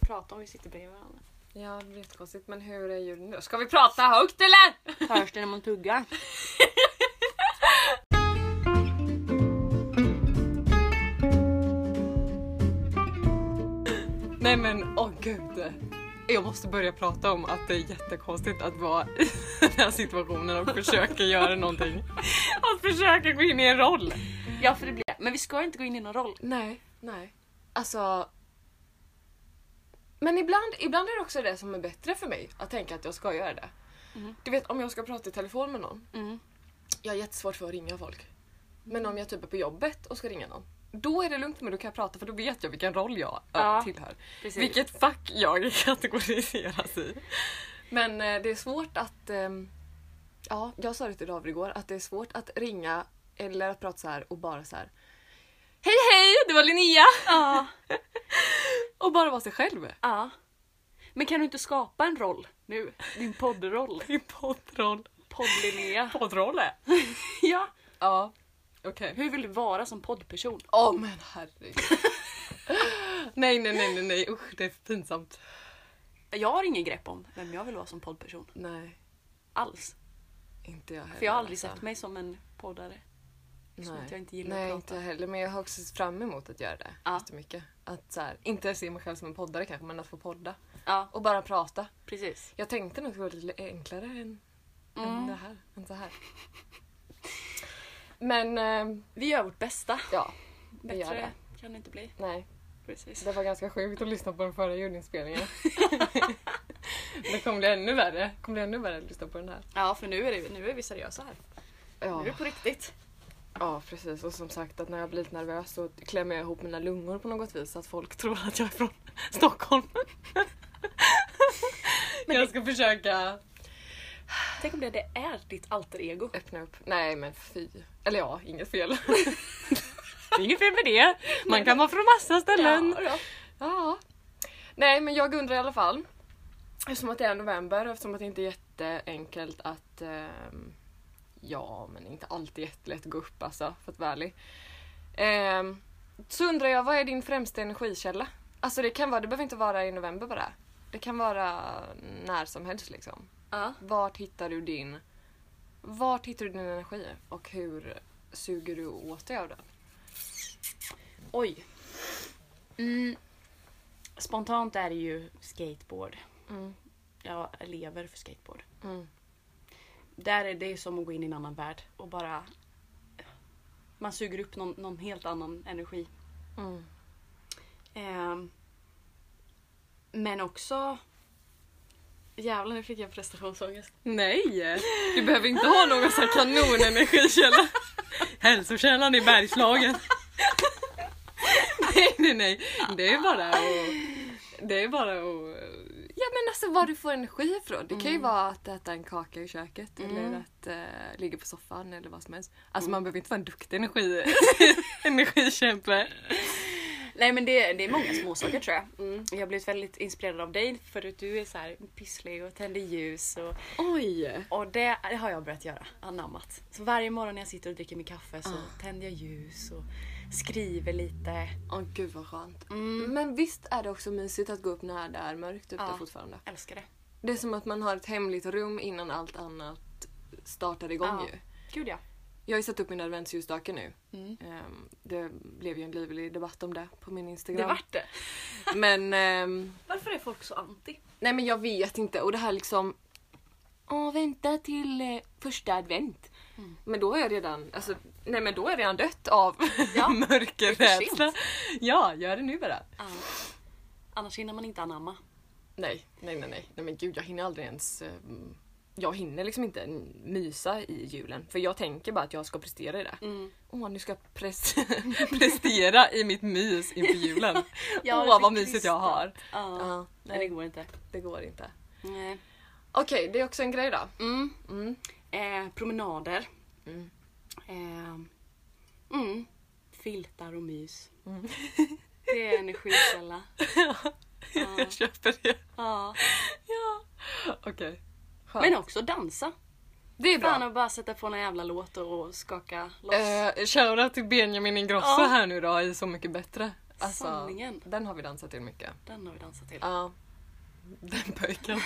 prata om vi sitter bredvid varandra? Ja, det blir jättekonstigt. Men hur är ljuden då? Ska vi prata högt eller? Hörs det när man tuggar? Nej men åh gud. Jag måste börja prata om att det är jättekonstigt att vara i den här situationen och försöka göra någonting. Att försöka gå in i en roll. Ja för det blir Men vi ska inte gå in i någon roll. Nej, nej. Alltså... Men ibland, ibland är det också det som är bättre för mig, att tänka att jag ska göra det. Mhm. Du vet om jag ska prata i telefon med någon, Mm. jag har jättesvårt för att ringa folk. Men om jag typ är på jobbet och ska ringa någon, då är det lugnt men då kan jag prata för då vet jag vilken roll jag äh, Ja, tillhör. Precis. Vilket fack jag kategoriseras i. Men eh, det är svårt att... ehm, ja, jag sa det till David igår, att det är svårt att ringa eller att prata så här och bara så här. Hej hej, det var Linnea! Ja. Och bara vara sig själv. ja. Men kan du inte skapa en roll nu? Din poddroll. Din poddroll. Podd-Linnea. Poddrolle? ja. Ja, okej. Hur vill du vara som poddperson? Åh men herregud. nej, nej, nej, nej, nej, usch det är pinsamt. Jag har ingen grepp om vem jag vill vara som poddperson. Nej, Alls. inte jag heller. För jag har aldrig sett alltså. mig som en poddare. som Nej. Liksom, att jag inte gillar att Nej, prata. inte jag heller. Men jag har också sett fram emot att göra det. Ja. Jättemycket. Att så här, inte se mig själv som en poddare kanske, men att få podda. Ja, Och bara prata. precis. Jag tänkte nog att det var lite enklare än, Mm. än det här. Än så här. Men eh, Vi gör vårt bästa. ja, vi gör Bättre det. kan det inte bli. Nej, Precis. det var ganska sjukt att lyssna på den förra ljudinspelningen. det kommer bli ännu värre. kommer bli ännu värre att lyssna på den här. Ja, för nu är, det, nu är vi seriösa här. Ja. Nu är det på riktigt. Ja precis och som sagt att när jag blir lite nervös så klämmer jag ihop mina lungor på något vis så att folk tror att jag är från Stockholm. jag ska försöka Tänk om det, det är ditt alter ego. öppna upp. Nej men fy. Eller ja, inget fel. Det är inget fel med det. Man kan vara från massa ställen. Ja, ja. Ja. Nej men jag undrar i alla fall. Eftersom att det är november och eftersom att det inte är jätteenkelt att... ehm, ja men inte alltid jättelätt att gå upp alltså för att vara ärlig. Ehm, så undrar jag vad är din främsta energikälla? Alltså det kan vara, det behöver inte vara i november bara. Det kan vara när som helst liksom. Ja. Vart hittar du din... Vart hittar du din energi och hur suger du åt dig av den? Oj. Mm. Spontant är det ju skateboard. Mm, Jag lever för skateboard. mm, Där är det ju som att gå in i en annan värld och bara... Man suger upp någon, någon helt annan energi. mm, Ehm, men också... Jävlar, nu fick jag prestationsångest. Nej! Du behöver inte ha någon sån här kanonenergikälla. Hälsokällan i Bergslagen. nej, nej, nej. Det är bara att... Det är bara att... Mm. Ja men alltså var du får energi ifrån. Det kan ju vara att äta en kaka i köket eller att eh, ligga på soffan eller vad som helst. Alltså man behöver inte vara en duktig energi, energikämpe. Nej men det, det är många småsaker tror jag. Mm. Jag har blivit väldigt inspirerad av dig för att du är så här pysslig och tänder ljus och, Oj! och det, det har jag börjat göra, anammat. Så varje morgon när jag sitter och dricker min kaffe så tänder jag ljus och skriver lite. Åh gud vad skönt. Men visst är det också mysigt att gå upp när det är mörkt ute Ja. fortfarande? Älskar det. Det är som att man har ett hemligt rum innan allt annat startar igång Ja. ju. Gud ja. Jag har ju satt upp mina adventsljusstake nu. Mm. Ehm, Det blev ju en livlig debatt om det på min Instagram. Det vart det. Men, ehm, Varför är folk så anti? nej men jag vet inte och det här liksom... Åh, vänta till eh, första advent. Mm. Men då är jag redan, alltså, nej men då är jag redan dött av Ja, mörkerrädsla. sent. Ja, gör det nu bara. Ja. Annars hinner man inte anamma. Nej, nej, nej, nej. nej men gud, jag hinner aldrig ens... eh, Jag hinner liksom inte n- mysa i julen. För jag tänker bara att jag ska prestera i det. Mm. Åh, nu ska jag pres- prestera i mitt mys inför julen. Ja, det Åh, vad fick mysigt Christer. jag har. Ja. Ja, Nej det nej, går inte. det går inte. Nej. Okej, det är också en grej då. Mm. Mm. Eh, promenader. Mm. Ehm, mm. Filtar och mys. Det är energikälla. Ja. jag köper det. Ja. Ja. Okej. Skönt. Men också dansa. det är Fan bra. att bara sätta på någon jävla låt och skaka loss. Eh, Shoutout till Benjamin Ingrosso Ja. här nu då i Så mycket bättre. Alltså, Sanningen. Den har vi dansat till mycket. Den har vi dansat till. Ja. Den pojken.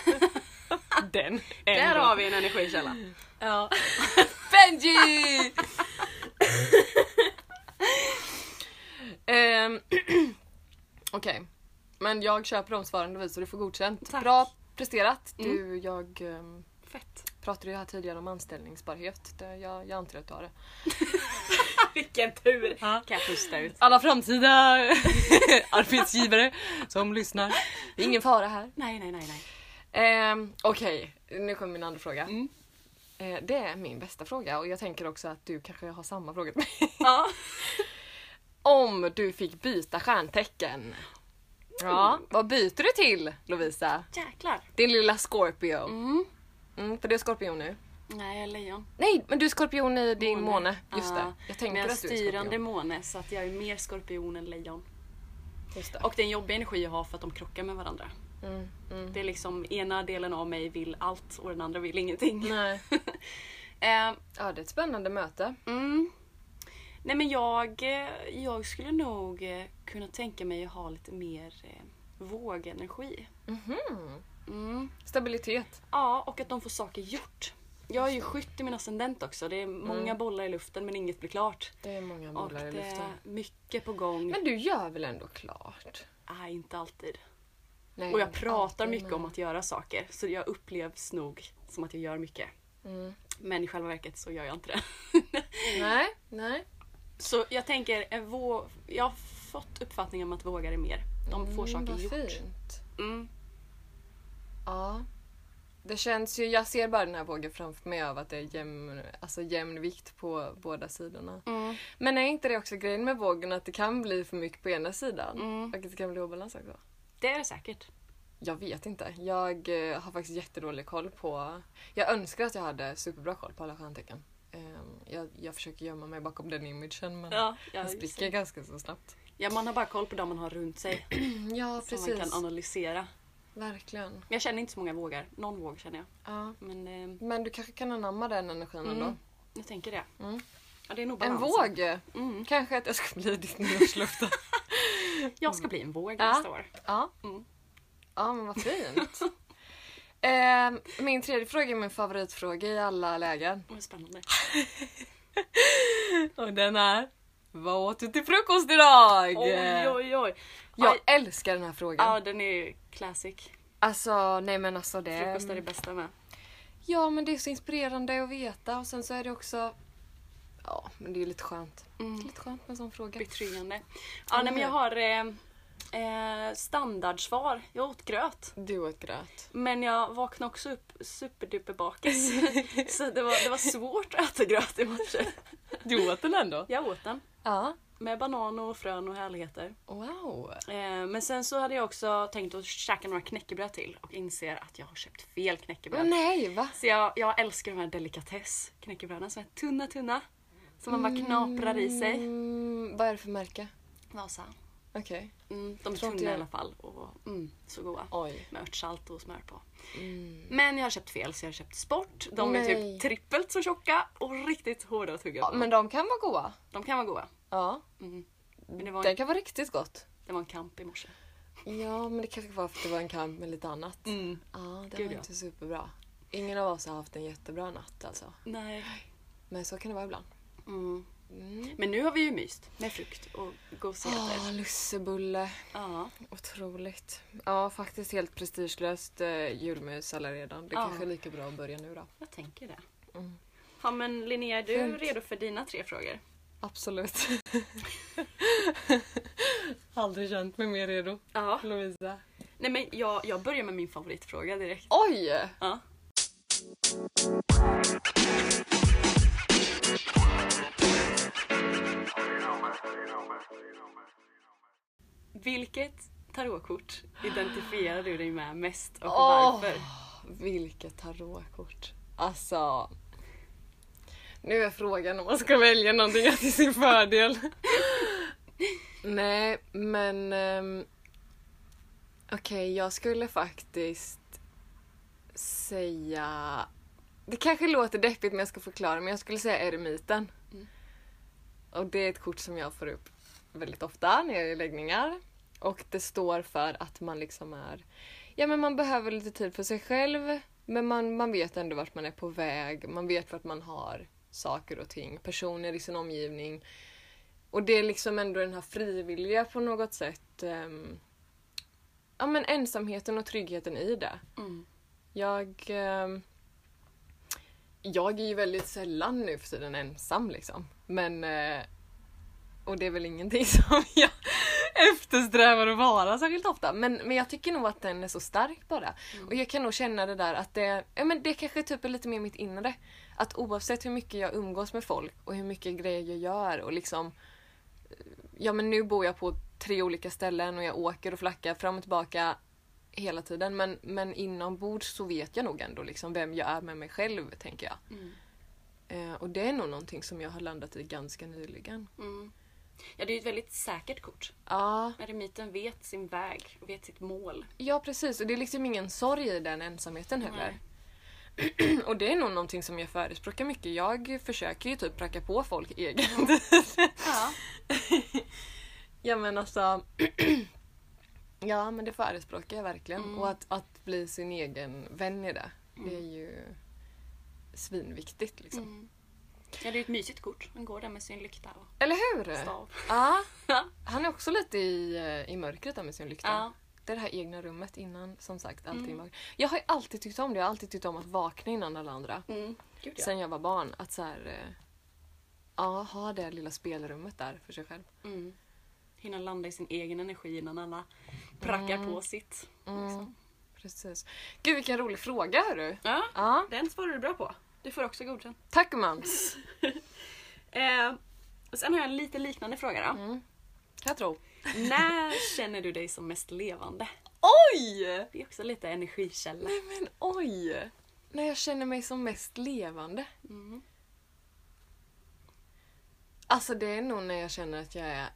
den. Där har vi en energikälla. Ja. Benji! Ehm, Okej. Men jag köper omsvarande vis så du får godkänt. Tack. Bra presterat. Du, jag ehm, Fett. pratade ju här tidigare om anställningsbarhet. Det, jag, jag antar att du har det. Vilken tur! Kan jag pusta ut. Alla framtida arbetsgivare som lyssnar. Det är ingen fara här. Nej, nej, nej, nej. Ehm, Okej, nu kommer min andra fråga. Mm. Eh, det är min bästa fråga och jag tänker också att du kanske har samma fråga till mig. Ja. Om du fick byta stjärntecken. Ja, Mm. vad byter du till Lovisa? Jäklar. Din lilla Scorpio. Mm. Mm, för du är skorpion nu. Nej, jag är lejon. Nej, men du är skorpion i din måne. Just Ja. det. Jag Men tänker jag att du är styrande skorpion. måne så att jag är mer skorpion än lejon. Just det. Och det är en jobbig energi att ha för att de krockar med varandra. Mm, mm. Det är liksom ena delen av mig vill allt och den andra vill ingenting. Nej. Eh, Ja, det är ett spännande möte. mm. Nej men jag, eh, jag skulle nog eh, kunna tänka mig att ha lite mer eh, vågenergi. Mhm. Mm. Stabilitet. Ja, och att de får saker gjort. Jag är ju skytt i min ascendent också. Det är många bollar i luften men inget blir klart. Det är Mm. många Och bollar i det luften. är mycket på gång. Men du gör väl ändå klart? Nej, inte alltid. Nej, Och jag inte pratar Mm, alltid, mycket men- om att göra saker. Så jag upplevs nog som att jag gör mycket. Mm. Men i själva verket så gör jag inte det. Nej, nej. Så jag tänker, en vå- jag har fått uppfattningen om att vågar är mer. De får Mm, saker vad gjort. Fint. Mm. Ja. Det känns ju, jag ser bara den här vågen framför mig av att det är jämn, alltså jämn vikt på båda sidorna. Mm. Men är inte det också grejen med vågen att det kan bli för mycket på ena sidan? Mm. Och att det kan bli obalans också? Det är det säkert. Mm. Jag vet inte. Jag eh, har faktiskt jättedålig koll på... Jag önskar att jag hade superbra koll på alla stjärntecken. Ehm, jag, jag försöker gömma mig bakom den imagen men Ja, den jag spricker ganska så snabbt. ja, man har bara koll på dem man har runt sig. Ja Som man precis, kan analysera. verkligen. Men Jag känner inte så många vågar. Någon våg känner jag. Ja. Men eh, Men du kanske kan anamma den energin Mm. ändå? jag tänker det. Mm. Ja, det är nog En balansen. våg! Mm. Kanske att jag ska bli ditt nyårslöfte. Jag ska bli en våg Ja. nästa år. ja. Mm. ja, men vad fint. Ehm, min tredje fråga är min favoritfråga i alla lägen. Vad spännande. Och den är... Vad åt du till frukost idag? Oj, eh. oj, oj. Jag Aj. älskar den här frågan. Ja, den är ju classic. Alltså, nej men alltså det... Frukost är det bästa med. Ja, men det är så inspirerande att veta och sen så är det också... Ja, men det är ju lite skönt. Mm. Lite skönt med en sån fråga. Betryggande. Ja, nej, men Mm. jag har eh, eh, standardsvar. Jag åt gröt. Du åt gröt. Men jag vaknade också upp superduper bakis. så det var, det var svårt att äta gröt i morse. Du åt den ändå? Jag åt den. Ja. Med banan och frön och härligheter. Wow. Eh, men sen så hade jag också tänkt att käka några knäckebröd till och inser att jag har köpt fel knäckebröd. Men nej, va? Så jag, jag älskar de här delikatess knäckebröden som är tunna tunna. Som man bara knaprar i sig. Mm, vad är det för märke? Vasa. Okej. Mm, de är Tror inte tunna i jag. alla fall och mm, så goda. Oj. Med örtsalt och smör på. Men jag har köpt fel så jag har köpt sport. De är Nej. typ trippelt så tjocka och riktigt hårda att tugga Ja, på. men de kan vara goda. De kan vara goda. Ja. Mm. Men det var, Den en, kan vara riktigt gott. det var en kamp i morse. Ja, men det kanske var för att det var en kamp med lite annat. Ja, det Mm. Gud, var ja. inte superbra. Ingen av oss har haft en jättebra natt alltså. Nej. Men så kan det vara ibland. Mm. Mm. Men nu har vi ju myst med frukt och gosigheter. Ah, lussebulle. Ja. Otroligt. Ja, faktiskt helt prestigelöst eh, julmys alla redan. Det Ja. kanske är lika bra att börja nu då. Jag tänker det. Mm. Ja men Linnea, är du Fint. redo för dina tre frågor? Absolut. Aldrig känt mig mer redo. Ja. Lovisa. Nej men jag, jag börjar med min favoritfråga direkt. Oj! Ja. Vilket tarotkort identifierar du dig med mest och Åh, varför? vilket tarotkort. Alltså. Nu är frågan om man ska välja någonting till sin fördel. Nej, men... Um, Okej, jag skulle faktiskt säga... Det kanske låter deppigt men jag ska förklara. Men jag skulle säga eremiten. Mm. Och det är ett kort som jag får upp väldigt ofta när jag gör läggningar. Och det står för att man liksom är... Ja men man behöver lite tid för sig själv. Men man, man vet ändå vart man är på väg. Man vet vart man har saker och ting. Personer i sin omgivning. Och det är liksom ändå den här frivilliga på något sätt. ehm, ja men ensamheten och tryggheten i det. Mm. Jag... ehm, jag är ju väldigt sällan nu för tiden ensam liksom. Men... eh, Och det är väl ingenting som jag eftersträvar att vara särskilt ofta. Men, men jag tycker nog att den är så stark bara. Och jag kan nog känna det där att det, ja, men det kanske typ är lite mer mitt inre. Att oavsett hur mycket jag umgås med folk och hur mycket grejer jag gör och liksom ja men nu bor jag på tre olika ställen och jag åker och flackar fram och tillbaka hela tiden. Men, men inombords så vet jag nog ändå liksom vem jag är med mig själv, tänker jag. Mm. Eh, och det är nog någonting som jag har landat i ganska nyligen. Mm. Ja, det är ju ett väldigt säkert kort. Ja, Eremiten vet sin väg, vet sitt mål. ja precis. Och det är liksom ingen sorg i den ensamheten heller. och det är nog någonting som jag förespråkar mycket. Jag försöker ju typ pracka på folk egen tid. Ja. Ja men alltså. ja men det förespråkar jag verkligen. Mm. Och att, att bli sin egen vän i det. Det är ju svinviktigt liksom. Mm. Ja, det är ett mysigt kort. Han går där med sin lykta och Eller hur? stav. Ja. Han är också lite i, eh, i mörkret där med sin lykta. Ja. Mm. Det är det här egna rummet innan som sagt allting mörkt. Jag har ju alltid tyckt om det. Jag har alltid tyckt om att vakna innan alla andra. Mm. Gud ja. Sen jag var barn. Att så här, eh, ja, ha det lilla spelrummet där för sig själv. Mm. Hinna landa i sin egen energi innan alla prackar på sitt. Liksom. Mm. Precis. Gud vilken rolig fråga hörru. Ja, Ja, den svarade du bra på. Du får också godkänt. tack mans. Eh, sen har jag en lite liknande fråga då. Jag tror. När känner du dig som mest levande? Oj! Det är också lite energikälla. Nej men oj! När jag känner mig som mest levande. Mm. Alltså det är nog när jag känner att jag är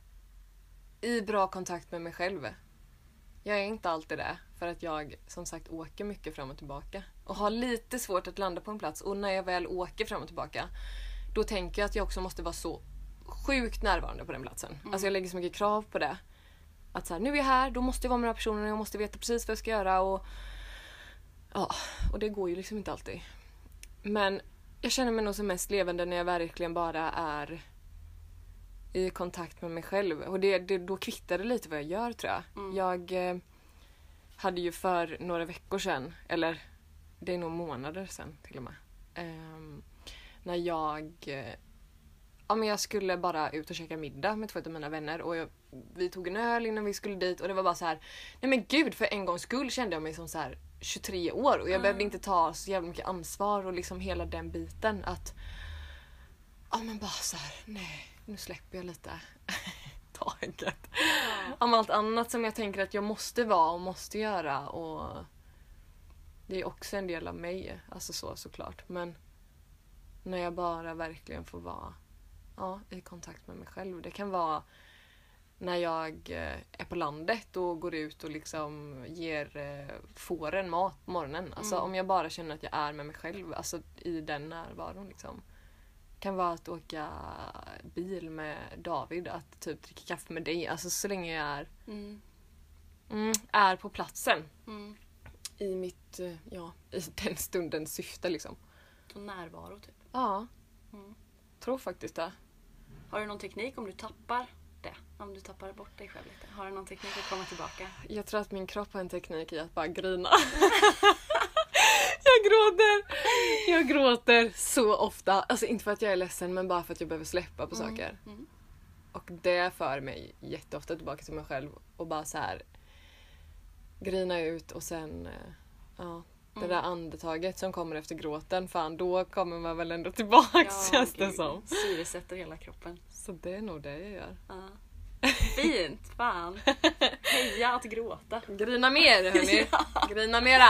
i bra kontakt med mig själv. Jag är inte alltid det för att jag som sagt åker mycket fram och tillbaka. Och har lite svårt att landa på en plats och när jag väl åker fram och tillbaka då tänker jag att jag också måste vara så sjukt närvarande på den platsen. Alltså jag lägger så mycket krav på det. Att så här, nu är jag här, då måste jag vara med den här personen och jag måste veta precis vad jag ska göra och... Ja, och det går ju liksom inte alltid. Men jag känner mig nog som mest levande när jag verkligen bara är i kontakt med mig själv. Och det, det, då kvittar det lite vad jag gör tror jag. Jag eh, hade ju för några veckor sedan, eller det är nog månader sedan till och med. ehm, när jag eh, Ja, men jag skulle bara ut och käka middag med två av mina vänner och jag, vi tog en öl innan vi skulle dit och det var bara så här. Nej men gud, för en gångs skull kände jag mig som så här 23 år och jag behövde inte ta så jävla mycket ansvar och liksom hela den biten att Ja men bara så här, nej nu släpper jag lite taget. Mm. Om allt annat som jag tänker att jag måste vara och måste göra och det är också en del av mig, alltså så såklart. Men när jag bara verkligen får vara ja, i kontakt med mig själv. Det kan vara när jag eh, är på landet och går ut och liksom ger eh, fåren mat på morgonen. Alltså om jag bara känner att jag är med mig själv, alltså i den närvaron liksom kan vara att åka bil med David, att typ dricka kaffe med dig. Alltså så länge jag är, Mm. mm, är på platsen Mm. i mitt, eh, ja, i den stundens syfte liksom. Och närvaro typ. Ja, Mm. tror faktiskt det. Har du någon teknik om du tappar det? Om du tappar bort dig själv lite? Har du någon teknik att komma tillbaka? Jag tror att min kropp har en teknik i att bara grina. jag gråter! Jag gråter så ofta. Alltså inte för att jag är ledsen men bara för att jag behöver släppa på saker. mm. Och det för mig jätteofta tillbaka till mig själv och bara så här grina ut och sen eh, ja, Mm. det där andetaget som kommer efter gråten. Fan, då kommer man väl ändå tillbaks känns det gud. som. Syresätter hela kroppen. Så det är nog det jag gör. Ja. Fint! Fan! Heja att gråta! Grina mer hörni! Grina mera!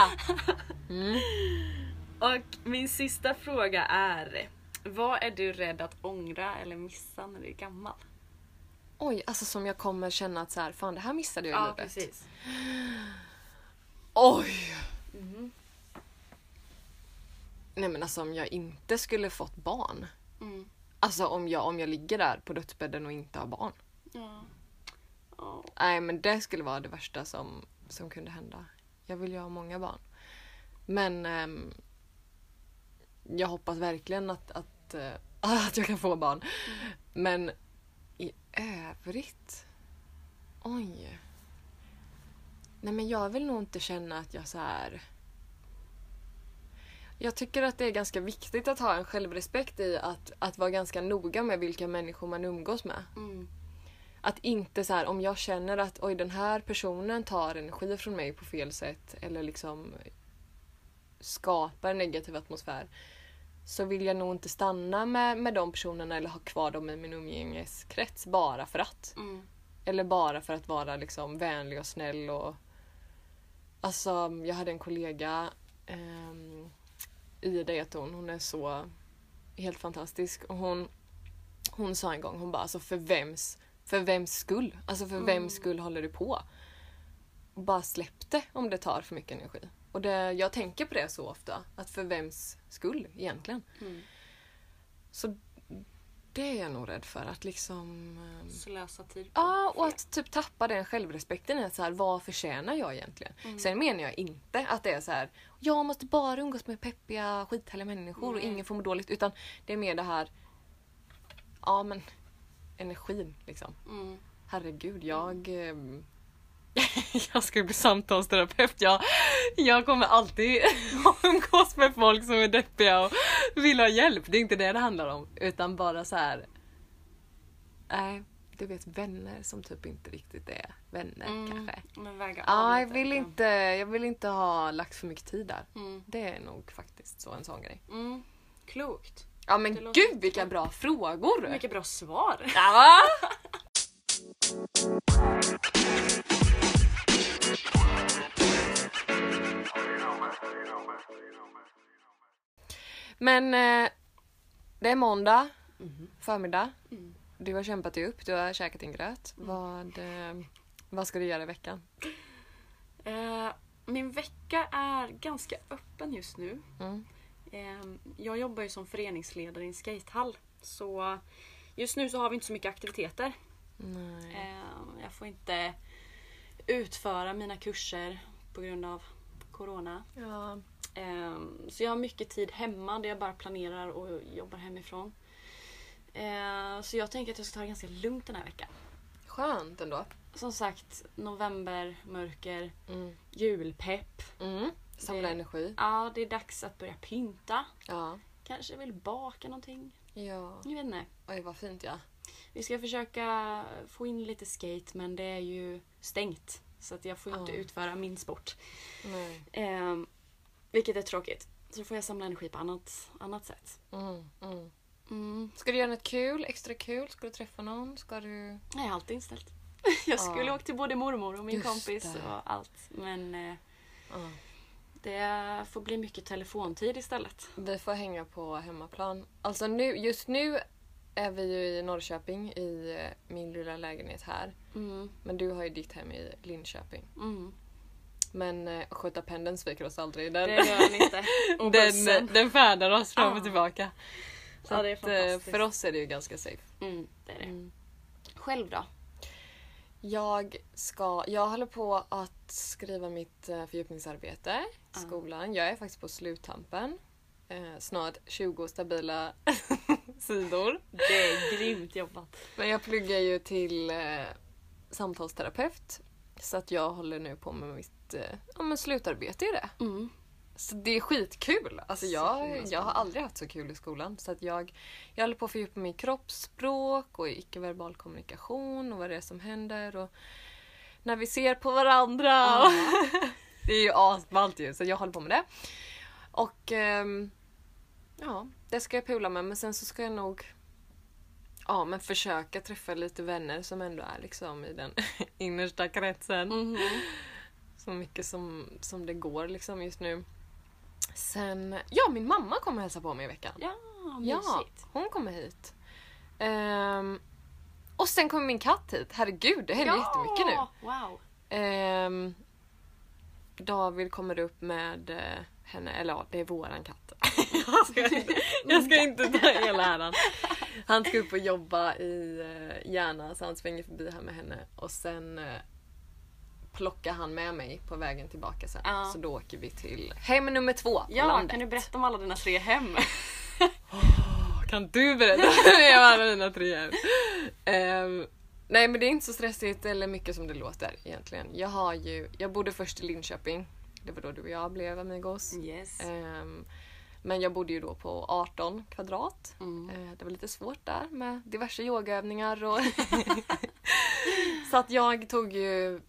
Och min sista fråga är. Vad är du rädd att ångra eller missa när du är gammal? Oj, alltså som jag kommer känna att så här, fan det här missade jag i livet. Oj! Mhm. Nej men alltså om jag inte skulle fått barn. Mm. Alltså om jag, om jag ligger där på dödsbädden och inte har barn. Ja. Nej men det skulle vara det värsta som, som kunde hända. Jag vill ju ha många barn. Men ehm, jag hoppas verkligen att, att, eh, att jag kan få barn. Men i övrigt... Oj. Nej men jag vill nog inte känna att jag så här... Jag tycker att det är ganska viktigt att ha en självrespekt i att, att vara ganska noga med vilka människor man umgås med. Mm. Att inte så här, om jag känner att oj den här personen tar energi från mig på fel sätt eller liksom skapar negativ atmosfär så vill jag nog inte stanna med, med de personerna eller ha kvar dem i min umgängeskrets bara för att. Mm. Eller bara för att vara liksom vänlig och snäll och... Alltså, jag hade en kollega, ehm, Ida heter hon, hon är så helt fantastisk. Och hon, hon sa en gång, hon bara alltså för vems, för vems skull? Alltså för vems skull håller du på? Bara släpp det om det tar för mycket energi. Och det, jag tänker på det så ofta, att för vems skull egentligen? Mm. Så det är jag nog rädd för, att liksom... ehm, Slösa tid. på Ja, och fel. att typ tappa den självrespekten i att så här, vad förtjänar jag egentligen? Mm. Sen menar jag inte att det är så här, jag måste bara umgås med peppiga, skithärliga människor och Nej. ingen får må dåligt. Utan det är mer det här, ja men energin liksom. Mm. Herregud, jag... ehm, jag ska bli samtalsterapeut. Jag, jag kommer alltid umgås med folk som är deppiga och vill ha hjälp. Det är inte det det handlar om. Utan bara så här... Nej, du vet vänner som typ inte riktigt är vänner kanske. Men mm. väga av Mm. Ja, jag lite, vill, liksom. inte, jag vill inte ha lagt för mycket tid där. Mm. Det är nog faktiskt så en sån grej. Mm. Klokt. Ja men Det låter gud vilka bra frågor! Mycket bra svar. Ja, va? Men eh, det är måndag förmiddag. Du har kämpat dig upp, du har käkat din gröt. Vad, eh, vad ska du göra i veckan? Eh, min vecka är ganska öppen just nu. Mm. Ehm, Jag jobbar ju som föreningsledare i en skatehall. Så just nu så har vi inte så mycket aktiviteter. Nej. Ehm, Jag får inte utföra mina kurser på grund av Corona. Ja. Ehm, Så jag har mycket tid hemma där jag bara planerar och jobbar hemifrån. Ehm, Så jag tänker att jag ska ta det ganska lugnt den här veckan. Skönt ändå. Som sagt, november, mörker, Mm. julpepp. Mm. Samla Det- energi. Ja, det är dags att börja pynta. Ja. Kanske vill baka någonting. ja. Jag vet inte. Oj vad fint ja. Vi ska försöka få in lite skate men det är ju stängt. Så att jag får ju inte Ja. utföra min sport. Nej. Ehm, vilket är tråkigt. Så då får jag samla energi på annat, annat sätt. Mm. Mm. Mm. Ska du göra något kul? Extra kul? Ska du träffa någon? Ska du... Nej, allt är inställt. Jag skulle Ja. åkt till både mormor och min Just kompis det. och allt. Men eh, Ja. det får bli mycket telefontid istället. Vi får hänga på hemmaplan. Alltså nu, just nu är vi ju i Norrköping i eh, min lilla lägenhet här. Mm. Men du har ju ditt hem i Linköping. Mm. Men eh, sköta pendeln sviker oss aldrig. Det Den, gör han inte. Och bussen. den, den färdar oss fram och Ah. tillbaka. Så Ja, det är att, eh, fantastiskt. för oss är det ju ganska safe. Mm, det är det. Själv då? Jag, ska, jag håller på att skriva mitt eh, fördjupningsarbete i Ah. skolan. Jag är faktiskt på sluttampen. Eh, snart 20 stabila sidor. Det är grymt jobbat. Men jag pluggar ju till eh, samtalsterapeut. Så att jag håller nu på med mitt eh, ja, men slutarbete i det. Mm. Så det är skitkul! Alltså Så himla jag, jag har spännande. aldrig haft så kul i skolan. Så att jag, jag håller på att fördjupa mig i kroppsspråk och i icke-verbal kommunikation och vad det är som händer. Och när vi ser på varandra. och- det är ju asballt ju, så jag håller på med det. Och ehm, ja, det ska jag pula med. Men sen så ska jag nog ja, men försöka träffa lite vänner som ändå är liksom i den innersta kretsen Mm-hmm. så mycket som, som det går liksom just nu. Sen, ja min mamma kommer hälsa på mig i veckan. Ja, Ja, mysigt. hon kommer hit. Ehm, och sen kommer min katt hit. Herregud, det händer jättemycket nu. Wow. Ehm, David kommer upp med eh, henne, eller ja, det är våran katt. jag, ska, jag ska inte ta hela äran. Han ska upp och jobba i eh, Järna så han svänger förbi här med henne och sen eh, plockar han med mig på vägen tillbaka sen. Ja. Så då åker vi till hem nummer två på Ja, landet. kan du berätta om alla dina tre hem? Kan du berätta om alla dina tre hem? Ehm, nej men det är inte så stressigt eller mycket som det låter egentligen. Jag har ju, jag bodde först i Linköping. Det var då du och jag blev amigos. Yes. Ehm, men jag bodde ju då på 18 kvadrat. Mm. Eh, det var lite svårt där med diverse yogaövningar och... så att jag tog ju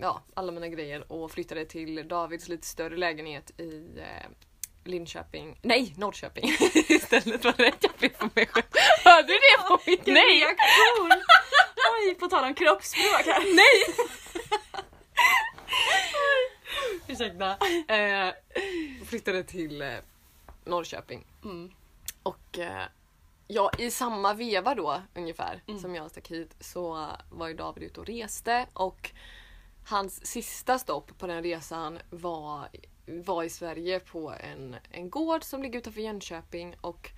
ja, alla mina grejer och flyttade till Davids lite större lägenhet i eh, Linköping, nej Norrköping istället var rätt jag blev för mig själv. Hörde du det på mitt Nej, jag cool. Oj, på tal om kroppsspråk här. Nej! Ursäkta. Eh, flyttade till eh, Norrköping. Mm. Och eh, ja, i samma veva då ungefär som jag stack hit så var ju David ute och reste och hans sista stopp på den resan var, var i Sverige på en, en gård som ligger utanför Jönköping och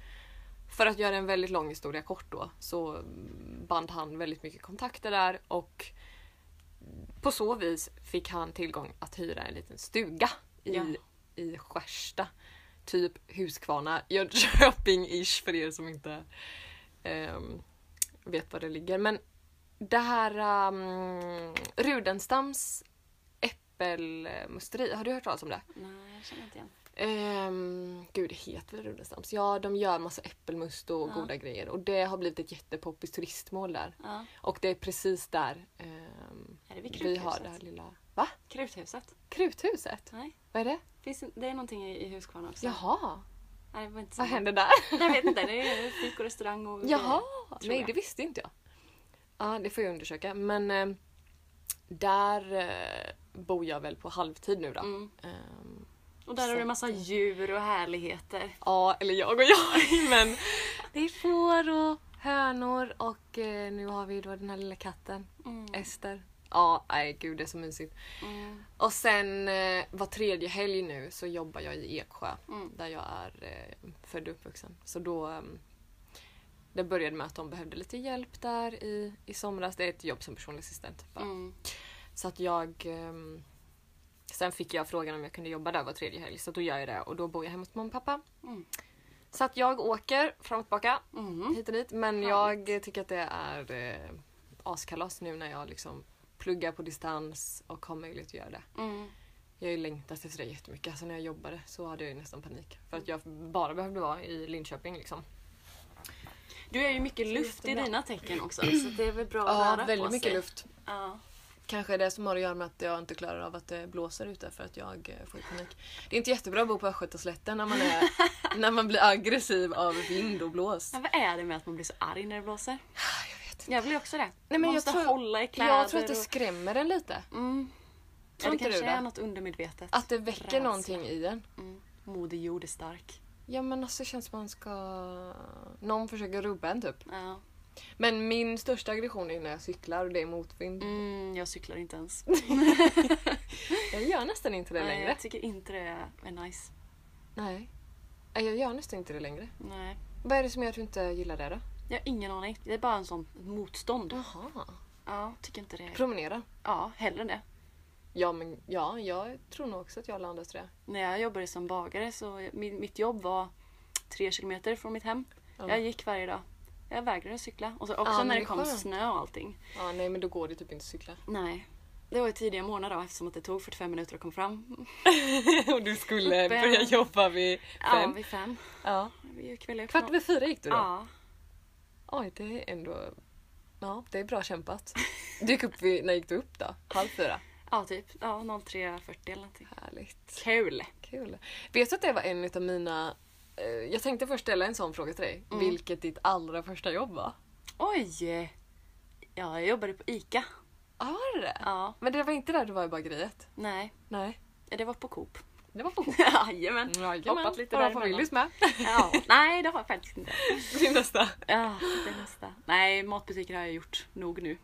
för att göra en väldigt lång historia kort då så band han väldigt mycket kontakter där och på så vis fick han tillgång att hyra en liten stuga i, Ja. i Skärsta. Typ Huskvarna, Jönköping-ish för er som inte ehm, vet var det ligger. Men det här um, Rudenstams äppelmusteri, har du hört talas om det? Nej, jag känner inte igen. Ehm, gud, det heter väl Rudenstams? Ja, de gör massa äppelmust och Ja. goda grejer och det har blivit ett jättepoppis turistmål där. Ja. Och det är precis där ehm, Är det vid vi har Kruthuset? det här lilla... Va? Kruthuset? Kruthuset? Nej. Vad är det? Finns det, det är någonting i, i Huskvarna också. Jaha, Nej, det var inte vad samma. händer där? Jag vet inte, det är fik och restaurang och Jaha, tror nej jag. det visste inte jag. Ja, det får jag undersöka. Men eh, där eh, bor jag väl på halvtid nu då. Mm. Ehm, Och där har du massa djur och härligheter. Ja, eller jag och jag. Men det är får och hönor och eh, nu har vi då den här lilla katten, Ester. Mm. Ja, nej gud det är så mysigt. Mm. Och sen eh, var tredje helg nu så jobbar jag i Eksjö Mm. där jag är eh, född och uppvuxen. Så då eh, det började med att de behövde lite hjälp där i, i somras. Det är ett jobb som personlig assistent. bara. Mm. Så att jag... ehm, sen fick jag frågan om jag kunde jobba där var tredje helg så då gör jag det och då bor jag hemma hos mamma och pappa. Mm. Så att jag åker fram och tillbaka Mm. hit och dit men Härligt. jag tycker att det är eh, askalas nu när jag liksom pluggar på distans och har möjlighet att göra det. Mm. Jag har ju längtat efter det jättemycket. Alltså när jag jobbade så hade jag ju nästan panik för att jag bara behövde vara i Linköping liksom. Du är ju mycket luft i jättebra. dina tecken också så det är väl bra att Ja, röra väldigt på mycket sig. luft. Ja. Kanske det som har att göra med att jag inte klarar av att det blåser ute för att jag eh, får panik. Det är inte jättebra att bo på Östgötaslätten när man, är, när man blir aggressiv av vind och blås. Ah, Ja, vad är det med att man blir så arg när det blåser? Jag vet inte. Jag blir också det. Nej, men man jag måste tror- hålla i kläder. Jag tror att det och... skrämmer en lite. mm. Tror ja, det inte du kanske det? är något undermedvetet. Att det väcker Rädsla. någonting i en. Mm. Moder jord är stark. Ja men alltså det känns som man ska... Någon försöker rubba en typ. Ja. Men min största aggression är när jag cyklar och det är motvind. Mm, jag cyklar inte ens. Jag gör nästan inte det Nej, längre. jag tycker inte det är nice. Nej. Nej, Jag gör nästan inte det längre. Nej. Vad är det som gör att du inte gillar det då? Jag har ingen aning. Det är bara en sån motstånd. Jaha. Ja, tycker inte det. är- Promenera. Ja, hellre det. Ja, men ja, jag tror nog också att jag landar tror jag. När jag jobbade som bagare så min, mitt jobb var tre kilometer från mitt hem. Ja. Jag gick varje dag. Jag vägrade cykla. Och så också Ja, men när det det är kom skönt. snö och allting. Ja, nej men då går det typ inte att cykla. Nej. Det var ju tidiga morgnar då eftersom att det tog 45 minuter att komma fram. och du skulle Uppe. börja jobba vid Ja, fem. vid fem. Ja. Vi gick väl upp Kvart nå- över fyra gick du då? Ja. Oj, det är ändå... Ja, det är bra kämpat. Du gick upp vid... När gick du upp då? Halv fyra? ja, typ. Ja, 03.40 eller någonting. Härligt. Kul! Kul. Vet du att det var en av mina... eh, Jag tänkte först ställa en sån fråga till dig. Mm. Vilket ditt allra första jobb var? Oj! Ja, jag jobbade på ICA. Ja, var det det? Ja, Men det var inte där du var i bageriet? nej. Nej. Det var på Coop. Det var på Jajamän! Mm, Hoppat lite där Willys med. Ja, nej, det har jag faktiskt inte. Din nästa. Ja, det är nästa. Nej, matbutiker har jag gjort nog nu.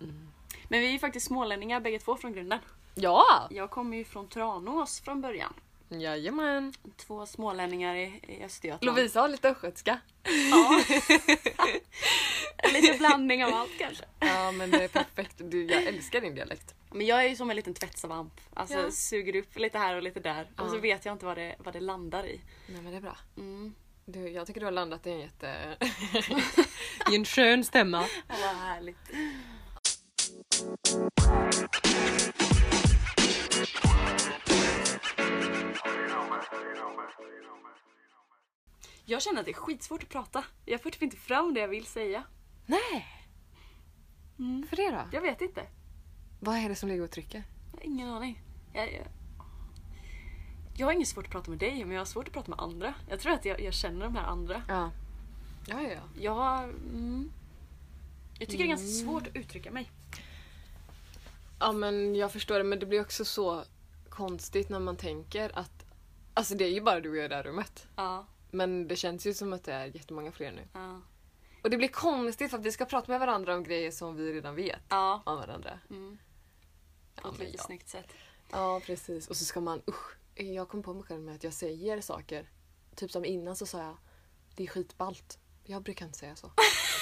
Mm. Men vi är ju faktiskt smålänningar bägge två från grunden. Ja! Jag kommer ju från Tranås från början. Jajamän. Två smålänningar i, i Östergötland. Lovisa har lite östgötska. Ja. en liten blandning av allt kanske. Ja men det är perfekt. Du, jag älskar din dialekt. Men jag är ju som en liten tvättsvamp. Alltså Ja. suger upp lite här och lite där. Och så Ja. vet jag inte vad det, vad det landar i. Nej men det är bra. Mm. Du, jag tycker du har landat i en jätte... I en skön stämma. Vad härligt. Jag känner att det är skitsvårt att prata. Jag får typ inte fram det jag vill säga. Nej! Mm. För det då? Jag vet inte. Vad är det som ligger och trycker? Jag har ingen aning. Jag, jag... jag har inget svårt att prata med dig, men jag har svårt att prata med andra. Jag tror att jag, jag känner de här andra. Ja. Ja, ja, ja. Jag... Mm. Jag tycker det är ganska svårt att uttrycka mig. Ja men jag förstår det men det blir också så konstigt när man tänker att Alltså det är ju bara du och jag i det här rummet. Ja, Men det känns ju som att det är jättemånga fler nu. ja. Och det blir konstigt för att vi ska prata med varandra om grejer som vi redan vet Ja, om varandra. mm. på Ja, ett men lite ja. snyggt sätt. ja precis. Och så ska man, usch. Jag kom på mig själv med att jag säger saker. Typ som innan så sa jag, det är skitballt. Jag brukar inte säga så.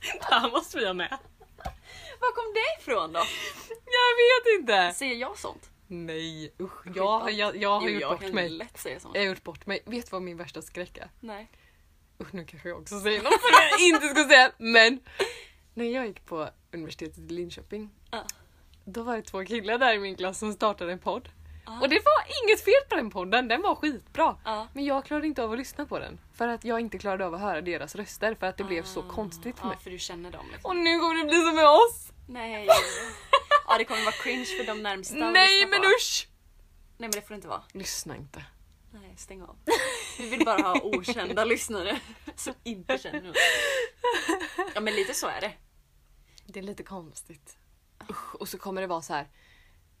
Det här måste vi ha med. Var kom det ifrån då? Jag vet inte! Säger jag sånt? Nej usch. Jag, har- Skitballt. jag, jag Jo, har gjort jag bort kan mig. Eh. lätt säga sånt. Jag har gjort bort mig. Vet du vad min värsta skräck är? Nej. Usch, nu kanske jag också säger något som jag inte ska säga. Men när jag gick på universitetet i Linköping Ja. då var det två killar där i min klass som startade en podd. Ja. Och det var inget fel på den podden, den var skitbra. Ja. Men jag klarade inte av att lyssna på den. För att jag inte klarade av att höra deras röster för att det blev så konstigt för Ja, mig. för du känner dem liksom. Ah. Och nu kommer det bli som med oss! Nej. Ja, det kommer vara cringe för de närmsta att Nej lyssna men på. usch! Nej men det får det inte vara. Lyssna inte. Nej, stäng av. Vi vill bara ha okända lyssnare som inte känner oss. Ja men lite så är det. Det är lite konstigt. Usch, och så kommer det vara så här.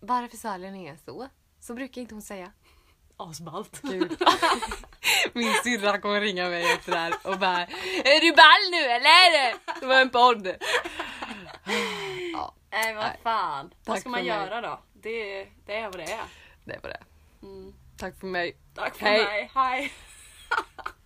Varför Salien är så, så brukar inte hon säga. Asballt. Gud. Min syrra kommer ringa mig efter det här och bara Är du ball nu eller? Det var en podd. Ja, Nej vad fan. vad Tack ska man för mig. göra då? Det, det är vad det är. det var det. Mm. Tack för mig. Tack för Hej. mig. Hej.